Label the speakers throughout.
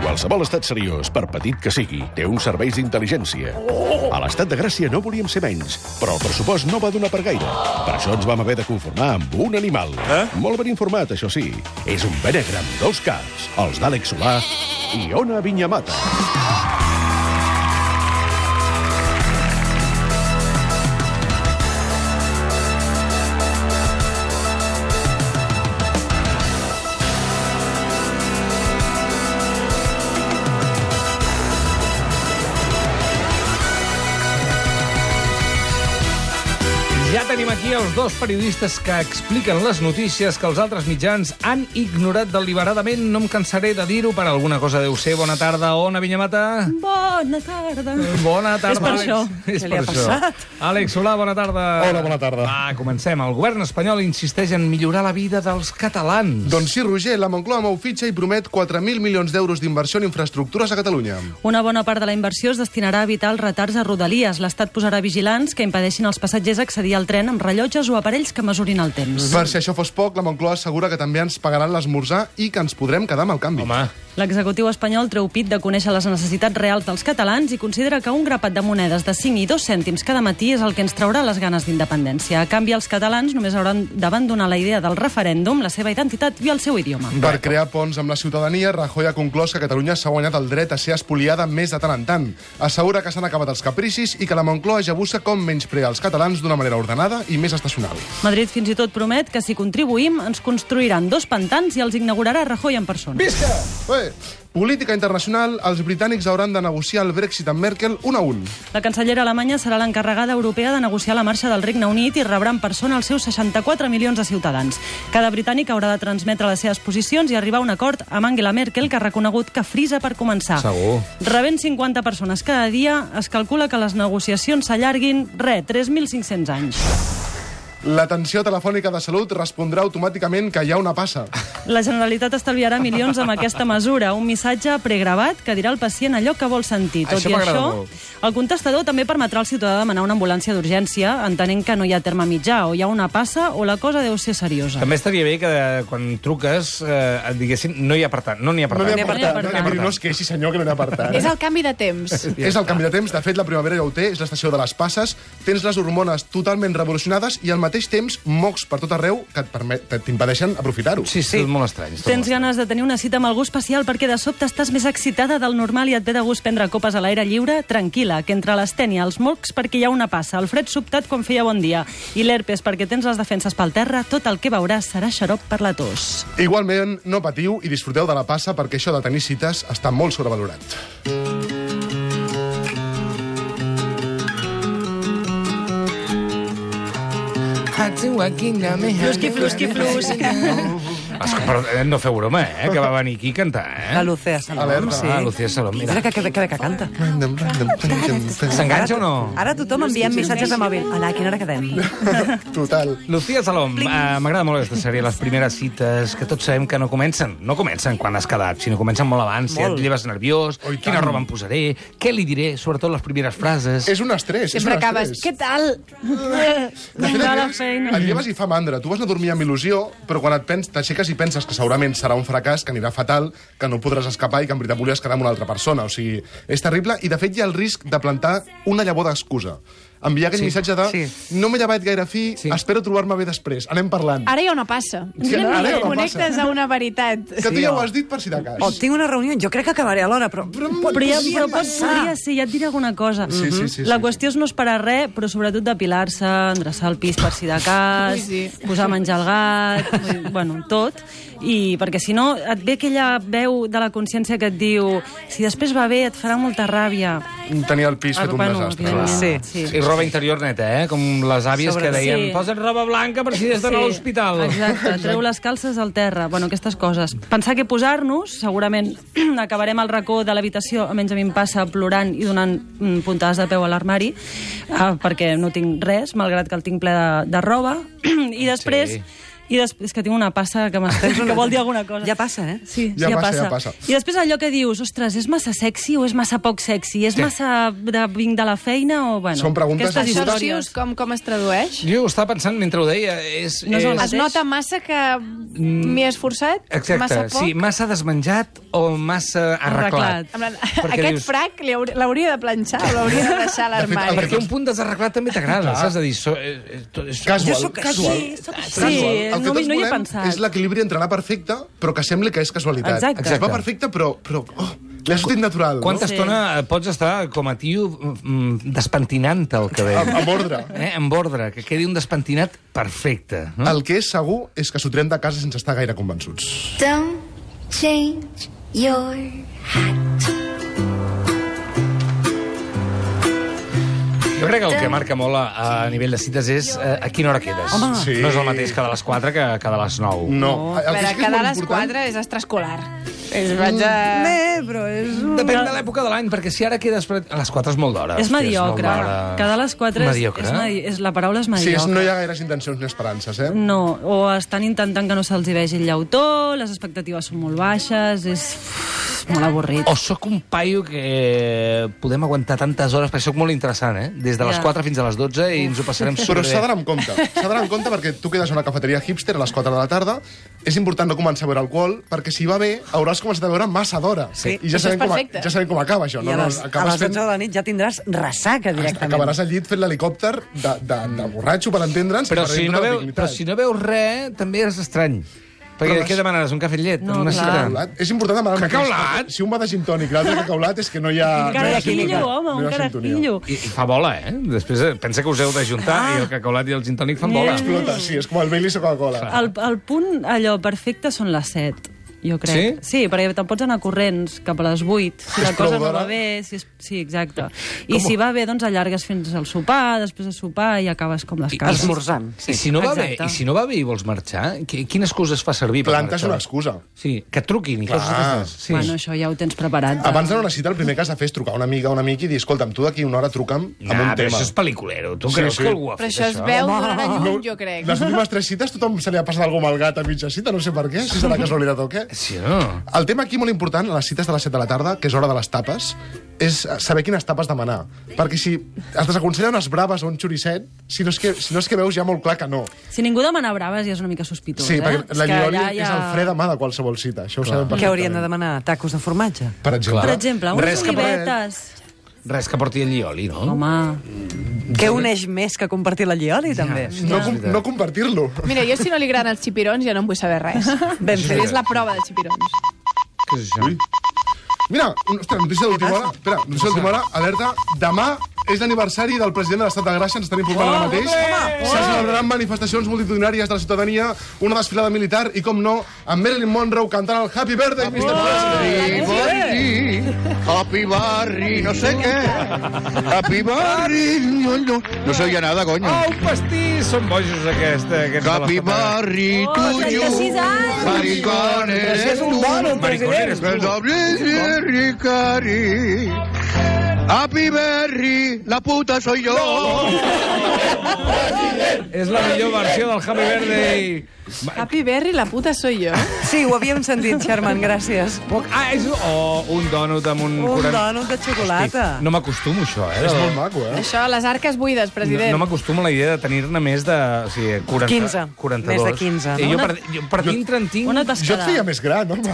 Speaker 1: Qualsevol estat seriós, per petit que sigui, té uns serveis d'intel·ligència. A l'estat de Gràcia no volíem ser menys, però el pressupost no va donar per gaire. Per això ens vam haver de conformar amb un animal.
Speaker 2: Eh?
Speaker 1: Molt ben informat, això sí. És un benegre amb dos caps, els d'Àlex Solà i Ona Vinyamata.
Speaker 3: Ja tenim aquí els dos periodistes que expliquen les notícies que els altres mitjans han ignorat deliberadament. No em cansaré de dir-ho, per alguna cosa deu ser. Bona tarda, Ona Vinyamata.
Speaker 4: Bona tarda.
Speaker 3: Bona tarda,
Speaker 4: És per
Speaker 3: Àlex.
Speaker 4: això.
Speaker 3: És
Speaker 4: Què li
Speaker 3: per
Speaker 4: ha
Speaker 3: això.
Speaker 4: passat?
Speaker 3: Àlex Solà, bona tarda.
Speaker 5: Hola, bona tarda.
Speaker 3: Va, comencem. El govern espanyol insisteix en millorar la vida dels catalans.
Speaker 5: Doncs sí, Roger, la Moncloa mou fitxa i promet 4.000 milions d'euros d'inversió en infraestructures a Catalunya.
Speaker 4: Una bona part de la inversió es destinarà a evitar els retards a Rodalies. L'Estat posarà vigilants que impedeixin als passatgers accedir al tren amb rellotges o aparells que mesurin el temps.
Speaker 5: Per si això fos poc, la Moncloa assegura que també ens pagaran l'esmorzar i que ens podrem quedar amb el canvi.
Speaker 3: Home,
Speaker 4: L'executiu espanyol treu pit de conèixer les necessitats reals dels catalans i considera que un grapat de monedes de 5 i 2 cèntims cada matí és el que ens traurà les ganes d'independència. A canvi, els catalans només hauran d'abandonar la idea del referèndum, la seva identitat i el seu idioma.
Speaker 5: Per crear ponts amb la ciutadania, Rajoy ha conclòs que Catalunya s'ha guanyat el dret a ser espoliada més de tant en tant. Assegura que s'han acabat els capricis i que la Moncloa ja busca com menysprear els catalans d'una manera ordenada i més estacional.
Speaker 4: Madrid fins i tot promet que si contribuïm ens construiran dos pantans i els inaugurarà Rajoy en persona.
Speaker 5: Ué! Política internacional, els britànics hauran de negociar el Brexit amb Merkel un a un.
Speaker 4: La cancellera alemanya serà l'encarregada europea de negociar la marxa del Regne Unit i rebrà en persona els seus 64 milions de ciutadans. Cada britànic haurà de transmetre les seves posicions i arribar a un acord amb Angela Merkel, que ha reconegut que frisa per començar.
Speaker 3: Segur.
Speaker 4: Rebent 50 persones cada dia, es calcula que les negociacions s'allarguin, re, 3.500 anys.
Speaker 5: L'atenció telefònica de salut respondrà automàticament que hi ha una passa.
Speaker 4: La Generalitat estalviarà milions amb aquesta mesura, un missatge pregravat que dirà al pacient allò que vol sentir. Tot
Speaker 3: Això
Speaker 4: i
Speaker 3: m'agrada
Speaker 4: això,
Speaker 3: molt.
Speaker 4: el contestador també permetrà al ciutadà demanar una ambulància d'urgència, entenent que no hi ha terme mitjà, o hi ha una passa, o la cosa deu ser seriosa.
Speaker 3: també estaria bé que eh, quan truques eh, et diguessin no n'hi ha per tant, no n'hi ha per
Speaker 5: No n'hi
Speaker 3: tant.
Speaker 5: ha
Speaker 4: per
Speaker 5: apartat.
Speaker 4: tant.
Speaker 5: No n'hi ha No es queixi, senyor, que no n'hi ha apartat.
Speaker 6: És el canvi de temps.
Speaker 5: És el canvi de temps. De fet, la primavera ja ho té, és l'estació de les passes. Tens les hormones totalment revolucionades i al mateix temps mocs per tot arreu que et permet- te- t'impedeixen aprofitar-ho.
Speaker 3: Sí, sí. Tot molt estrany. Tot
Speaker 4: Tens
Speaker 3: molt
Speaker 4: ganes de tenir una cita amb algú especial perquè de sobte estàs més excitada del normal i et ve de gust prendre copes a l'aire lliure? Tranquil·la, que entre l'estènia, els mocs perquè hi ha una passa, el fred sobtat quan feia bon dia i l'herpes perquè tens les defenses pel terra, tot el que veuràs serà xarop per la tos.
Speaker 5: Igualment, no patiu i disfruteu de la passa perquè això de tenir cites està molt sobrevalorat.
Speaker 3: Flusqui, flusqui, flusqui. Però eh, no feu broma, eh, que va venir aquí a cantar, eh?
Speaker 7: La Lucía Salom,
Speaker 5: Alerta.
Speaker 7: sí.
Speaker 3: Ah, Lucía Salom, mira.
Speaker 7: Mira que, que, que, que canta.
Speaker 3: S'enganxa o no?
Speaker 7: Ara tothom envia missatges de mòbil. Hola, a quina hora quedem?
Speaker 5: Total.
Speaker 3: Lucía Salom, eh, m'agrada molt aquesta sèrie, les primeres cites, que tots sabem que no comencen. No comencen quan has quedat, sinó comencen molt abans, si et lleves nerviós,
Speaker 5: Oh, i tant.
Speaker 3: quina roba em posaré, què li diré, sobretot les primeres frases.
Speaker 5: És un estrès.
Speaker 6: Sempre
Speaker 5: és un
Speaker 6: acabes...
Speaker 5: estrès.
Speaker 6: Què tal?
Speaker 5: De fet,
Speaker 4: Vinga, a la
Speaker 5: et lleves-
Speaker 4: feina.
Speaker 5: et lleves i fa mandra. Tu vas anar a dormir amb il·lusió, però quan et pens, t'aixeques i penses que segurament serà un fracàs, que anirà fatal, que no podràs escapar i que en veritat volies quedar amb una altra persona. O sigui, és terrible i, de fet, hi ha el risc de plantar una llavor d'excusa. Enviar aquell sí, missatge de sí. no m'he llevat gaire fi, sí. espero trobar-me bé després, anem parlant.
Speaker 7: Ah,
Speaker 6: Ara ja una passa.
Speaker 5: Sí, ara- ara hi ha una
Speaker 6: Connectes
Speaker 5: passa.
Speaker 6: a una veritat.
Speaker 5: Que tu ja ho has dit per si de cas.
Speaker 7: O Oh, tinc una reunió, jo crec que acabaré a l'hora, però...
Speaker 4: Però, ja,
Speaker 7: podria
Speaker 4: però pot,
Speaker 7: passar.
Speaker 4: podria ser, ja et diré alguna cosa. Mhm.
Speaker 5: Sí, sí, sí,
Speaker 4: la
Speaker 5: sí,
Speaker 4: qüestió és no esperar res, però sobretot depilar-se, endreçar el pis per si de cas,
Speaker 6: Ui, sí.
Speaker 4: posar a menjar el gat, vull dir, bueno, tot. I perquè si no et ve aquella veu de la consciència que et diu si després va bé et farà molta ràbia.
Speaker 5: Tenir el pis
Speaker 7: Ah,
Speaker 5: fet un
Speaker 4: Bueno,
Speaker 5: desastre.
Speaker 4: evidentment,
Speaker 7: Sí.
Speaker 4: sí.
Speaker 3: I roba interior neta, eh? Com les àvies
Speaker 7: Sobre-
Speaker 3: que deien,
Speaker 4: sí.
Speaker 3: posa't roba blanca per si has d'anar a l'hospital.
Speaker 4: Exacte, treu les calces al terra. Bueno, aquestes coses. Pensar que posar-nos, segurament acabarem al racó de l'habitació, almenys a mi em passa, plorant i donant mm, puntades de peu a l'armari, eh, perquè no tinc res, malgrat que el tinc ple de, de roba. I després...
Speaker 3: Sí.
Speaker 4: Sí. I després, és que tinc una passa que m'estén, que vol dir alguna cosa.
Speaker 7: Ja passa, eh?
Speaker 4: Sí,
Speaker 5: Ja
Speaker 4: ja,
Speaker 5: passa,
Speaker 4: passa.
Speaker 5: ja passa.
Speaker 4: I després allò que dius, ostres, és massa sexy o és massa poc sexy? És
Speaker 3: Sí.
Speaker 4: sí. massa de vinc de la feina o... Bueno,
Speaker 5: Són preguntes-
Speaker 4: Aquestes
Speaker 6: Això, si
Speaker 4: històries.
Speaker 6: com, com es tradueix?
Speaker 3: Jo ho estava pensant mentre ho deia. És,
Speaker 4: No és el
Speaker 6: Es
Speaker 4: mateix.
Speaker 6: nota massa que
Speaker 5: Mm.
Speaker 6: m'hi he esforçat?
Speaker 3: Exacte,
Speaker 6: Massa poc?
Speaker 3: sí, massa desmenjat o massa arreglat.
Speaker 4: Arreglat.
Speaker 6: En plan,
Speaker 3: Perquè
Speaker 6: Aquest
Speaker 3: dius- "Ah,
Speaker 6: frac li hauri- l'hauria de planxar o l'hauria de deixar a l'armari.
Speaker 5: el
Speaker 3: Perquè un punt desarreglat també t'agrada, saps? És a dir, so, eh, eh, és,
Speaker 5: Casual.
Speaker 7: Jo sóc així, sóc així.
Speaker 5: Casual.
Speaker 4: Sí,
Speaker 5: El que
Speaker 4: no m'hi-
Speaker 5: tots
Speaker 4: no hi he
Speaker 5: volem
Speaker 4: pensat.
Speaker 5: És l'equilibri entre anar perfecte, però que sembli que és casualitat.
Speaker 4: Exacte.
Speaker 5: Es va perfecte, però... però oh, L'ha sortit natural,
Speaker 3: Quanta
Speaker 4: Sí.
Speaker 3: estona pots estar com a tio mm, despentinant-te el
Speaker 5: no? Amb,
Speaker 3: cabell?
Speaker 5: amb ordre.
Speaker 3: Eh, amb ordre, que quedi un despentinat perfecte. No?
Speaker 5: El que és segur és que sortirem de casa sense estar gaire convençuts.
Speaker 2: Don't change your hat.
Speaker 3: Jo crec que el que marca molt a, a nivell de cites és eh, a quina hora quedes.
Speaker 7: Home.
Speaker 5: Sí. Mm.
Speaker 3: No és el mateix que de les 4 que, que de les 9.
Speaker 5: No.
Speaker 6: A
Speaker 5: El que
Speaker 6: veure,
Speaker 5: sí que és
Speaker 6: quedar
Speaker 5: molt
Speaker 6: a les
Speaker 5: important- Mm.
Speaker 6: 4 és extraescolar. És, vaig a...
Speaker 7: Bé, però és... un-
Speaker 3: Depèn de l'època de l'any, perquè si ara quedes... pre- A les 4 és molt d'hora.
Speaker 4: És
Speaker 3: Hòstia,
Speaker 4: mediocre.
Speaker 3: molt d'hora.
Speaker 4: Cada les quatre és,
Speaker 3: Mediocre.
Speaker 4: és, medi és, la paraula és Mm.
Speaker 5: Sí,
Speaker 4: mediocre.
Speaker 5: és, no hi ha gaires intencions ni esperances, eh?
Speaker 4: No, o estan intentant que no se'ls hi vegi el llautó, les expectatives són molt baixes, és, és molt avorrit.
Speaker 3: O Oh, sóc un paio que podem aguantar tantes hores, perquè sóc molt interessant, eh? Des de les
Speaker 4: Ja.
Speaker 3: 4 fins a les 12 i ens ho passarem
Speaker 5: Però
Speaker 3: superbé.
Speaker 5: s'ha d'anar amb compte. S'ha d'anar amb compte perquè tu quedes a una cafeteria hipster a les 4 de la tarda, és important no començar a beure alcohol, perquè si va bé, hauràs començat a beure massa d'hora.
Speaker 3: Sí.
Speaker 5: I ja
Speaker 6: Això és
Speaker 5: sabem, com, a-
Speaker 6: perfecte.
Speaker 5: ja sabem com acaba això.
Speaker 7: I a les, a
Speaker 5: acabes Ah,
Speaker 7: les 11 de la nit ja tindràs ressaca directament.
Speaker 5: Acabaràs al llit fent l'helicòpter de, de, de borratxo, per entendre'ns,
Speaker 3: Però
Speaker 5: i
Speaker 3: si,
Speaker 5: perdent
Speaker 3: no
Speaker 5: tota la
Speaker 3: veu,
Speaker 5: dignitat.
Speaker 3: però si no veus res, també és estrany. Perquè
Speaker 5: Però
Speaker 3: què
Speaker 5: les-
Speaker 3: demanaràs? Un cafè amb llet?
Speaker 4: No,
Speaker 3: una
Speaker 4: clar.
Speaker 3: cita?
Speaker 5: Cacaulat. És important demanar...
Speaker 3: Cacaulat?
Speaker 5: Si un va de gin tònic i l'altre cacaulat és que no hi ha...
Speaker 4: Un carajillo, home,
Speaker 5: hi
Speaker 4: un
Speaker 5: ha sintonia.
Speaker 4: carajillo.
Speaker 3: I, I fa bola, eh? Després eh, pensa que us heu d'ajuntar ah. i el cacaulat i el gin tònic fan bola.
Speaker 5: Explota, sí, és com el Baileys o Coca-Cola.
Speaker 4: El, el punt allò perfecte són les 7 jo crec. Sí? sí, perquè te'n pots anar corrents cap a les 8, si
Speaker 5: És
Speaker 4: la cosa
Speaker 5: prou
Speaker 4: no
Speaker 5: d'hora.
Speaker 4: va bé, si és... sí, exacte. I si va bé, doncs allargues fins al sopar, després a sopar i acabes com les cases.
Speaker 7: Esmorzant.
Speaker 3: I si no va bé,
Speaker 4: Exacte.
Speaker 3: i si no va bé i vols marxar, qui- quina excusa es fa servir per
Speaker 5: Plantes
Speaker 3: marxar?
Speaker 5: una excusa.
Speaker 3: Sí, que et truquin i
Speaker 5: Clar.
Speaker 3: coses d'aquestes. Sí.
Speaker 4: Bueno, això ja ho tens preparat.
Speaker 5: Abans d'anar a una cita, el primer que has de fer és trucar a una amiga o un amic i dir, escolta'm, tu d'aquí una hora truca'm amb
Speaker 3: nah,
Speaker 5: un
Speaker 3: però
Speaker 5: tema.
Speaker 3: això és peliculero. Tu
Speaker 5: Sí,
Speaker 3: creus
Speaker 5: sí.
Speaker 3: que algú ha
Speaker 6: Però
Speaker 3: fet
Speaker 6: això es veu durant la
Speaker 5: No,
Speaker 6: llum, jo crec.
Speaker 5: Les últimes tres cites tothom se li ha passat alguna cosa mal gat a mitja cita, no sé per què, si serà casualitat o què.
Speaker 3: Sí, no?
Speaker 5: El tema aquí molt important, a les cites de les 7 de la tarda, que és hora de les tapes, és saber quines tapes demanar. Perquè si es desaconsella unes braves o un xuricet, si no és que, si no és que veus ja molt clar que no.
Speaker 4: Si ningú demana braves ja és una mica sospitós,
Speaker 5: Sí,
Speaker 4: eh?
Speaker 5: perquè la
Speaker 4: És que
Speaker 5: llioli
Speaker 4: allà
Speaker 5: és el fre de mà de qualsevol cita, això ho sabem
Speaker 7: Què
Speaker 5: perfectament.
Speaker 7: hauríem de demanar? Tacos de formatge?
Speaker 5: Per exemple.
Speaker 4: Per exemple,
Speaker 3: Res
Speaker 4: unes
Speaker 3: que
Speaker 4: olivetes.
Speaker 3: Res que porti el llioli, no?
Speaker 4: Home,
Speaker 5: Doncs-
Speaker 7: Què uneix més que compartir la llioli, també?
Speaker 5: No, com- no compartir-lo.
Speaker 6: Mira, jo si no li agraden els xipirons ja no en vull saber res.
Speaker 7: Ben fet.
Speaker 6: És la prova dels xipirons.
Speaker 3: Què és això?
Speaker 5: Mira, un- ostres, notícia d'última
Speaker 7: Ah,
Speaker 5: hora. Espera, notícia d'última hora, alerta. Demà és l'aniversari del president de l'Estat de Gràcia, ens estan informant ara mateix. Se celebraran manifestacions multitudinàries de la ciutadania, una desfilada militar i, com no, amb Marilyn Monroe cantant el Happy Birthday, Mr. President.
Speaker 8: Barry, Happy Barry, no sé qué. Happy Barry, no, no, no se oye nada, coño.
Speaker 3: Ah, un pastís! Són bojos, aquesta. aquests de
Speaker 8: Happy
Speaker 3: les paperes.
Speaker 8: Barry,
Speaker 4: Oh,
Speaker 8: tuyo.
Speaker 4: 36 años.
Speaker 8: Maricón eres tú.
Speaker 3: Maricón eres
Speaker 8: El
Speaker 3: tu.
Speaker 8: doble de Ricari. Happy Berry, la puta soy yo.
Speaker 3: És la millor versió del Happy Birthday.
Speaker 6: Happy Berry, la puta soy jo.
Speaker 7: Sí, ho havíem sentit, Sherman, gràcies.
Speaker 3: Poc... Ah, és... Oh, un dònut amb un...
Speaker 7: Un
Speaker 3: 40
Speaker 7: dònut de xocolata.
Speaker 3: No m'acostumo, a això, eh?
Speaker 5: És molt maco, eh?
Speaker 6: Això, les arques buides,
Speaker 3: No,
Speaker 6: president.
Speaker 3: no m'acostumo a la idea de tenir-ne més de... O sigui, 40,
Speaker 7: 15.
Speaker 3: 42.
Speaker 7: Més de 15, no?
Speaker 3: I jo per, jo per dintre en tinc...
Speaker 4: una
Speaker 5: Jo
Speaker 4: tascada.
Speaker 5: et feia més gran, home.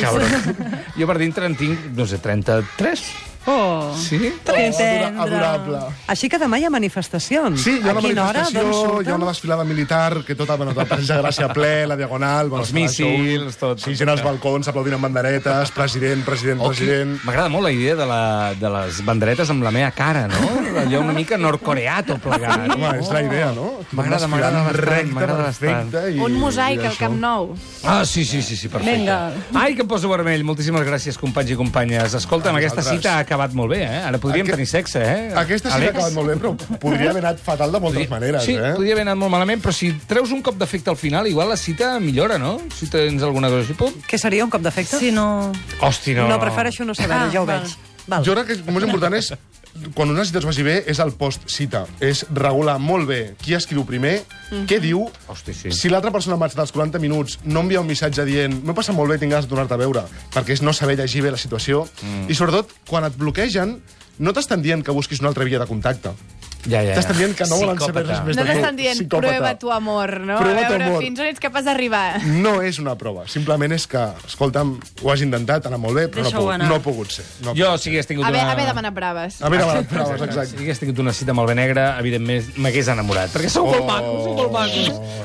Speaker 3: Cabrón. Jo per dintre en tinc, no sé, 33?
Speaker 4: Oh,
Speaker 3: Sí?
Speaker 7: Que
Speaker 5: Adora-
Speaker 7: tendre.
Speaker 5: Adorable.
Speaker 7: Així que demà hi ha manifestacions.
Speaker 5: Sí, hi ha
Speaker 7: a
Speaker 5: una
Speaker 7: quina hora,
Speaker 5: manifestació,
Speaker 7: d'on
Speaker 5: hi ha
Speaker 7: surten?
Speaker 5: una desfilada militar, que tot bueno, tot de gràcia ple, la diagonal... bueno,
Speaker 3: Els
Speaker 5: estarà això,
Speaker 3: míssils, tot.
Speaker 5: Sí, gent als balcons, aplaudint amb banderetes, president, president, president...
Speaker 3: M'agrada molt la idea de, la, de les banderetes amb la mea cara, no? Allò una mica nord-coreato plegat.
Speaker 5: Home, és la idea, no?
Speaker 3: Oh. M'agrada, m'agrada
Speaker 5: Desfilant
Speaker 3: bastant,
Speaker 5: recte,
Speaker 3: m'agrada
Speaker 5: perfecte, i-
Speaker 6: Un mosaic
Speaker 5: i
Speaker 6: al
Speaker 5: això.
Speaker 6: Camp Nou.
Speaker 3: Ah, sí, sí, sí, sí perfecte.
Speaker 4: Vinga.
Speaker 3: Ai, que em poso vermell. Moltíssimes gràcies, companys i companyes. Escolta'm,
Speaker 5: A
Speaker 3: aquesta
Speaker 5: vosaltres.
Speaker 3: cita ha acabat molt bé, eh? Ara podríem
Speaker 5: Aquest-
Speaker 3: tenir sexe, eh?
Speaker 5: Aquesta sí que ha
Speaker 3: Àlex?
Speaker 5: acabat molt bé, però podria haver anat fatal de moltes maneres,
Speaker 3: sí,
Speaker 5: eh?
Speaker 3: podria haver anat molt malament, però si treus un cop d'efecte al final, igual la cita millora, no? Si tens alguna cosa així, pum.
Speaker 7: Què seria, un cop d'efecte?
Speaker 4: si no...
Speaker 3: Hosti, no.
Speaker 7: No, prefereixo no saber-ho,
Speaker 4: Ah,
Speaker 7: ja ho
Speaker 4: val.
Speaker 7: veig. Val.
Speaker 5: Jo crec que el més important és quan una cita us vagi bé, és el post-cita. És regular molt bé qui escriu primer,
Speaker 6: Mhm.
Speaker 5: què diu...
Speaker 3: Hosti, sí.
Speaker 5: Si l'altra persona abans dels 40 minuts no envia un missatge dient m'ho he passat molt bé, tinc ganes de tornar-te a veure, perquè és no saber llegir bé la situació. Mm. I sobretot, quan et bloquegen, no t'estan dient que busquis una altra via de contacte.
Speaker 3: Ja, ja, ja.
Speaker 5: T'estan dient que no volen saber res més
Speaker 6: No
Speaker 5: de tu.
Speaker 6: t'estan dient,
Speaker 5: Psicòpata.
Speaker 6: prueba tu amor, no?
Speaker 5: Prueba
Speaker 6: a
Speaker 5: tu
Speaker 6: veure
Speaker 5: amor.
Speaker 6: fins on ets capaç d'arribar.
Speaker 5: No és una prova, simplement és que, escolta'm, ho has intentat, ha anat molt bé, però no,
Speaker 4: Deixa-ho
Speaker 5: puc,
Speaker 4: anar.
Speaker 5: no ha pogut ser. No.
Speaker 3: Jo, si hagués tingut
Speaker 6: Haver,
Speaker 3: una...
Speaker 6: haver demanat braves.
Speaker 5: A veure, les proves,
Speaker 3: Si
Speaker 5: exacte. Oh.
Speaker 3: hagués tingut una cita amb el Benegre, evidentment m'hagués enamorat, perquè sou molt macos, sou molt macos.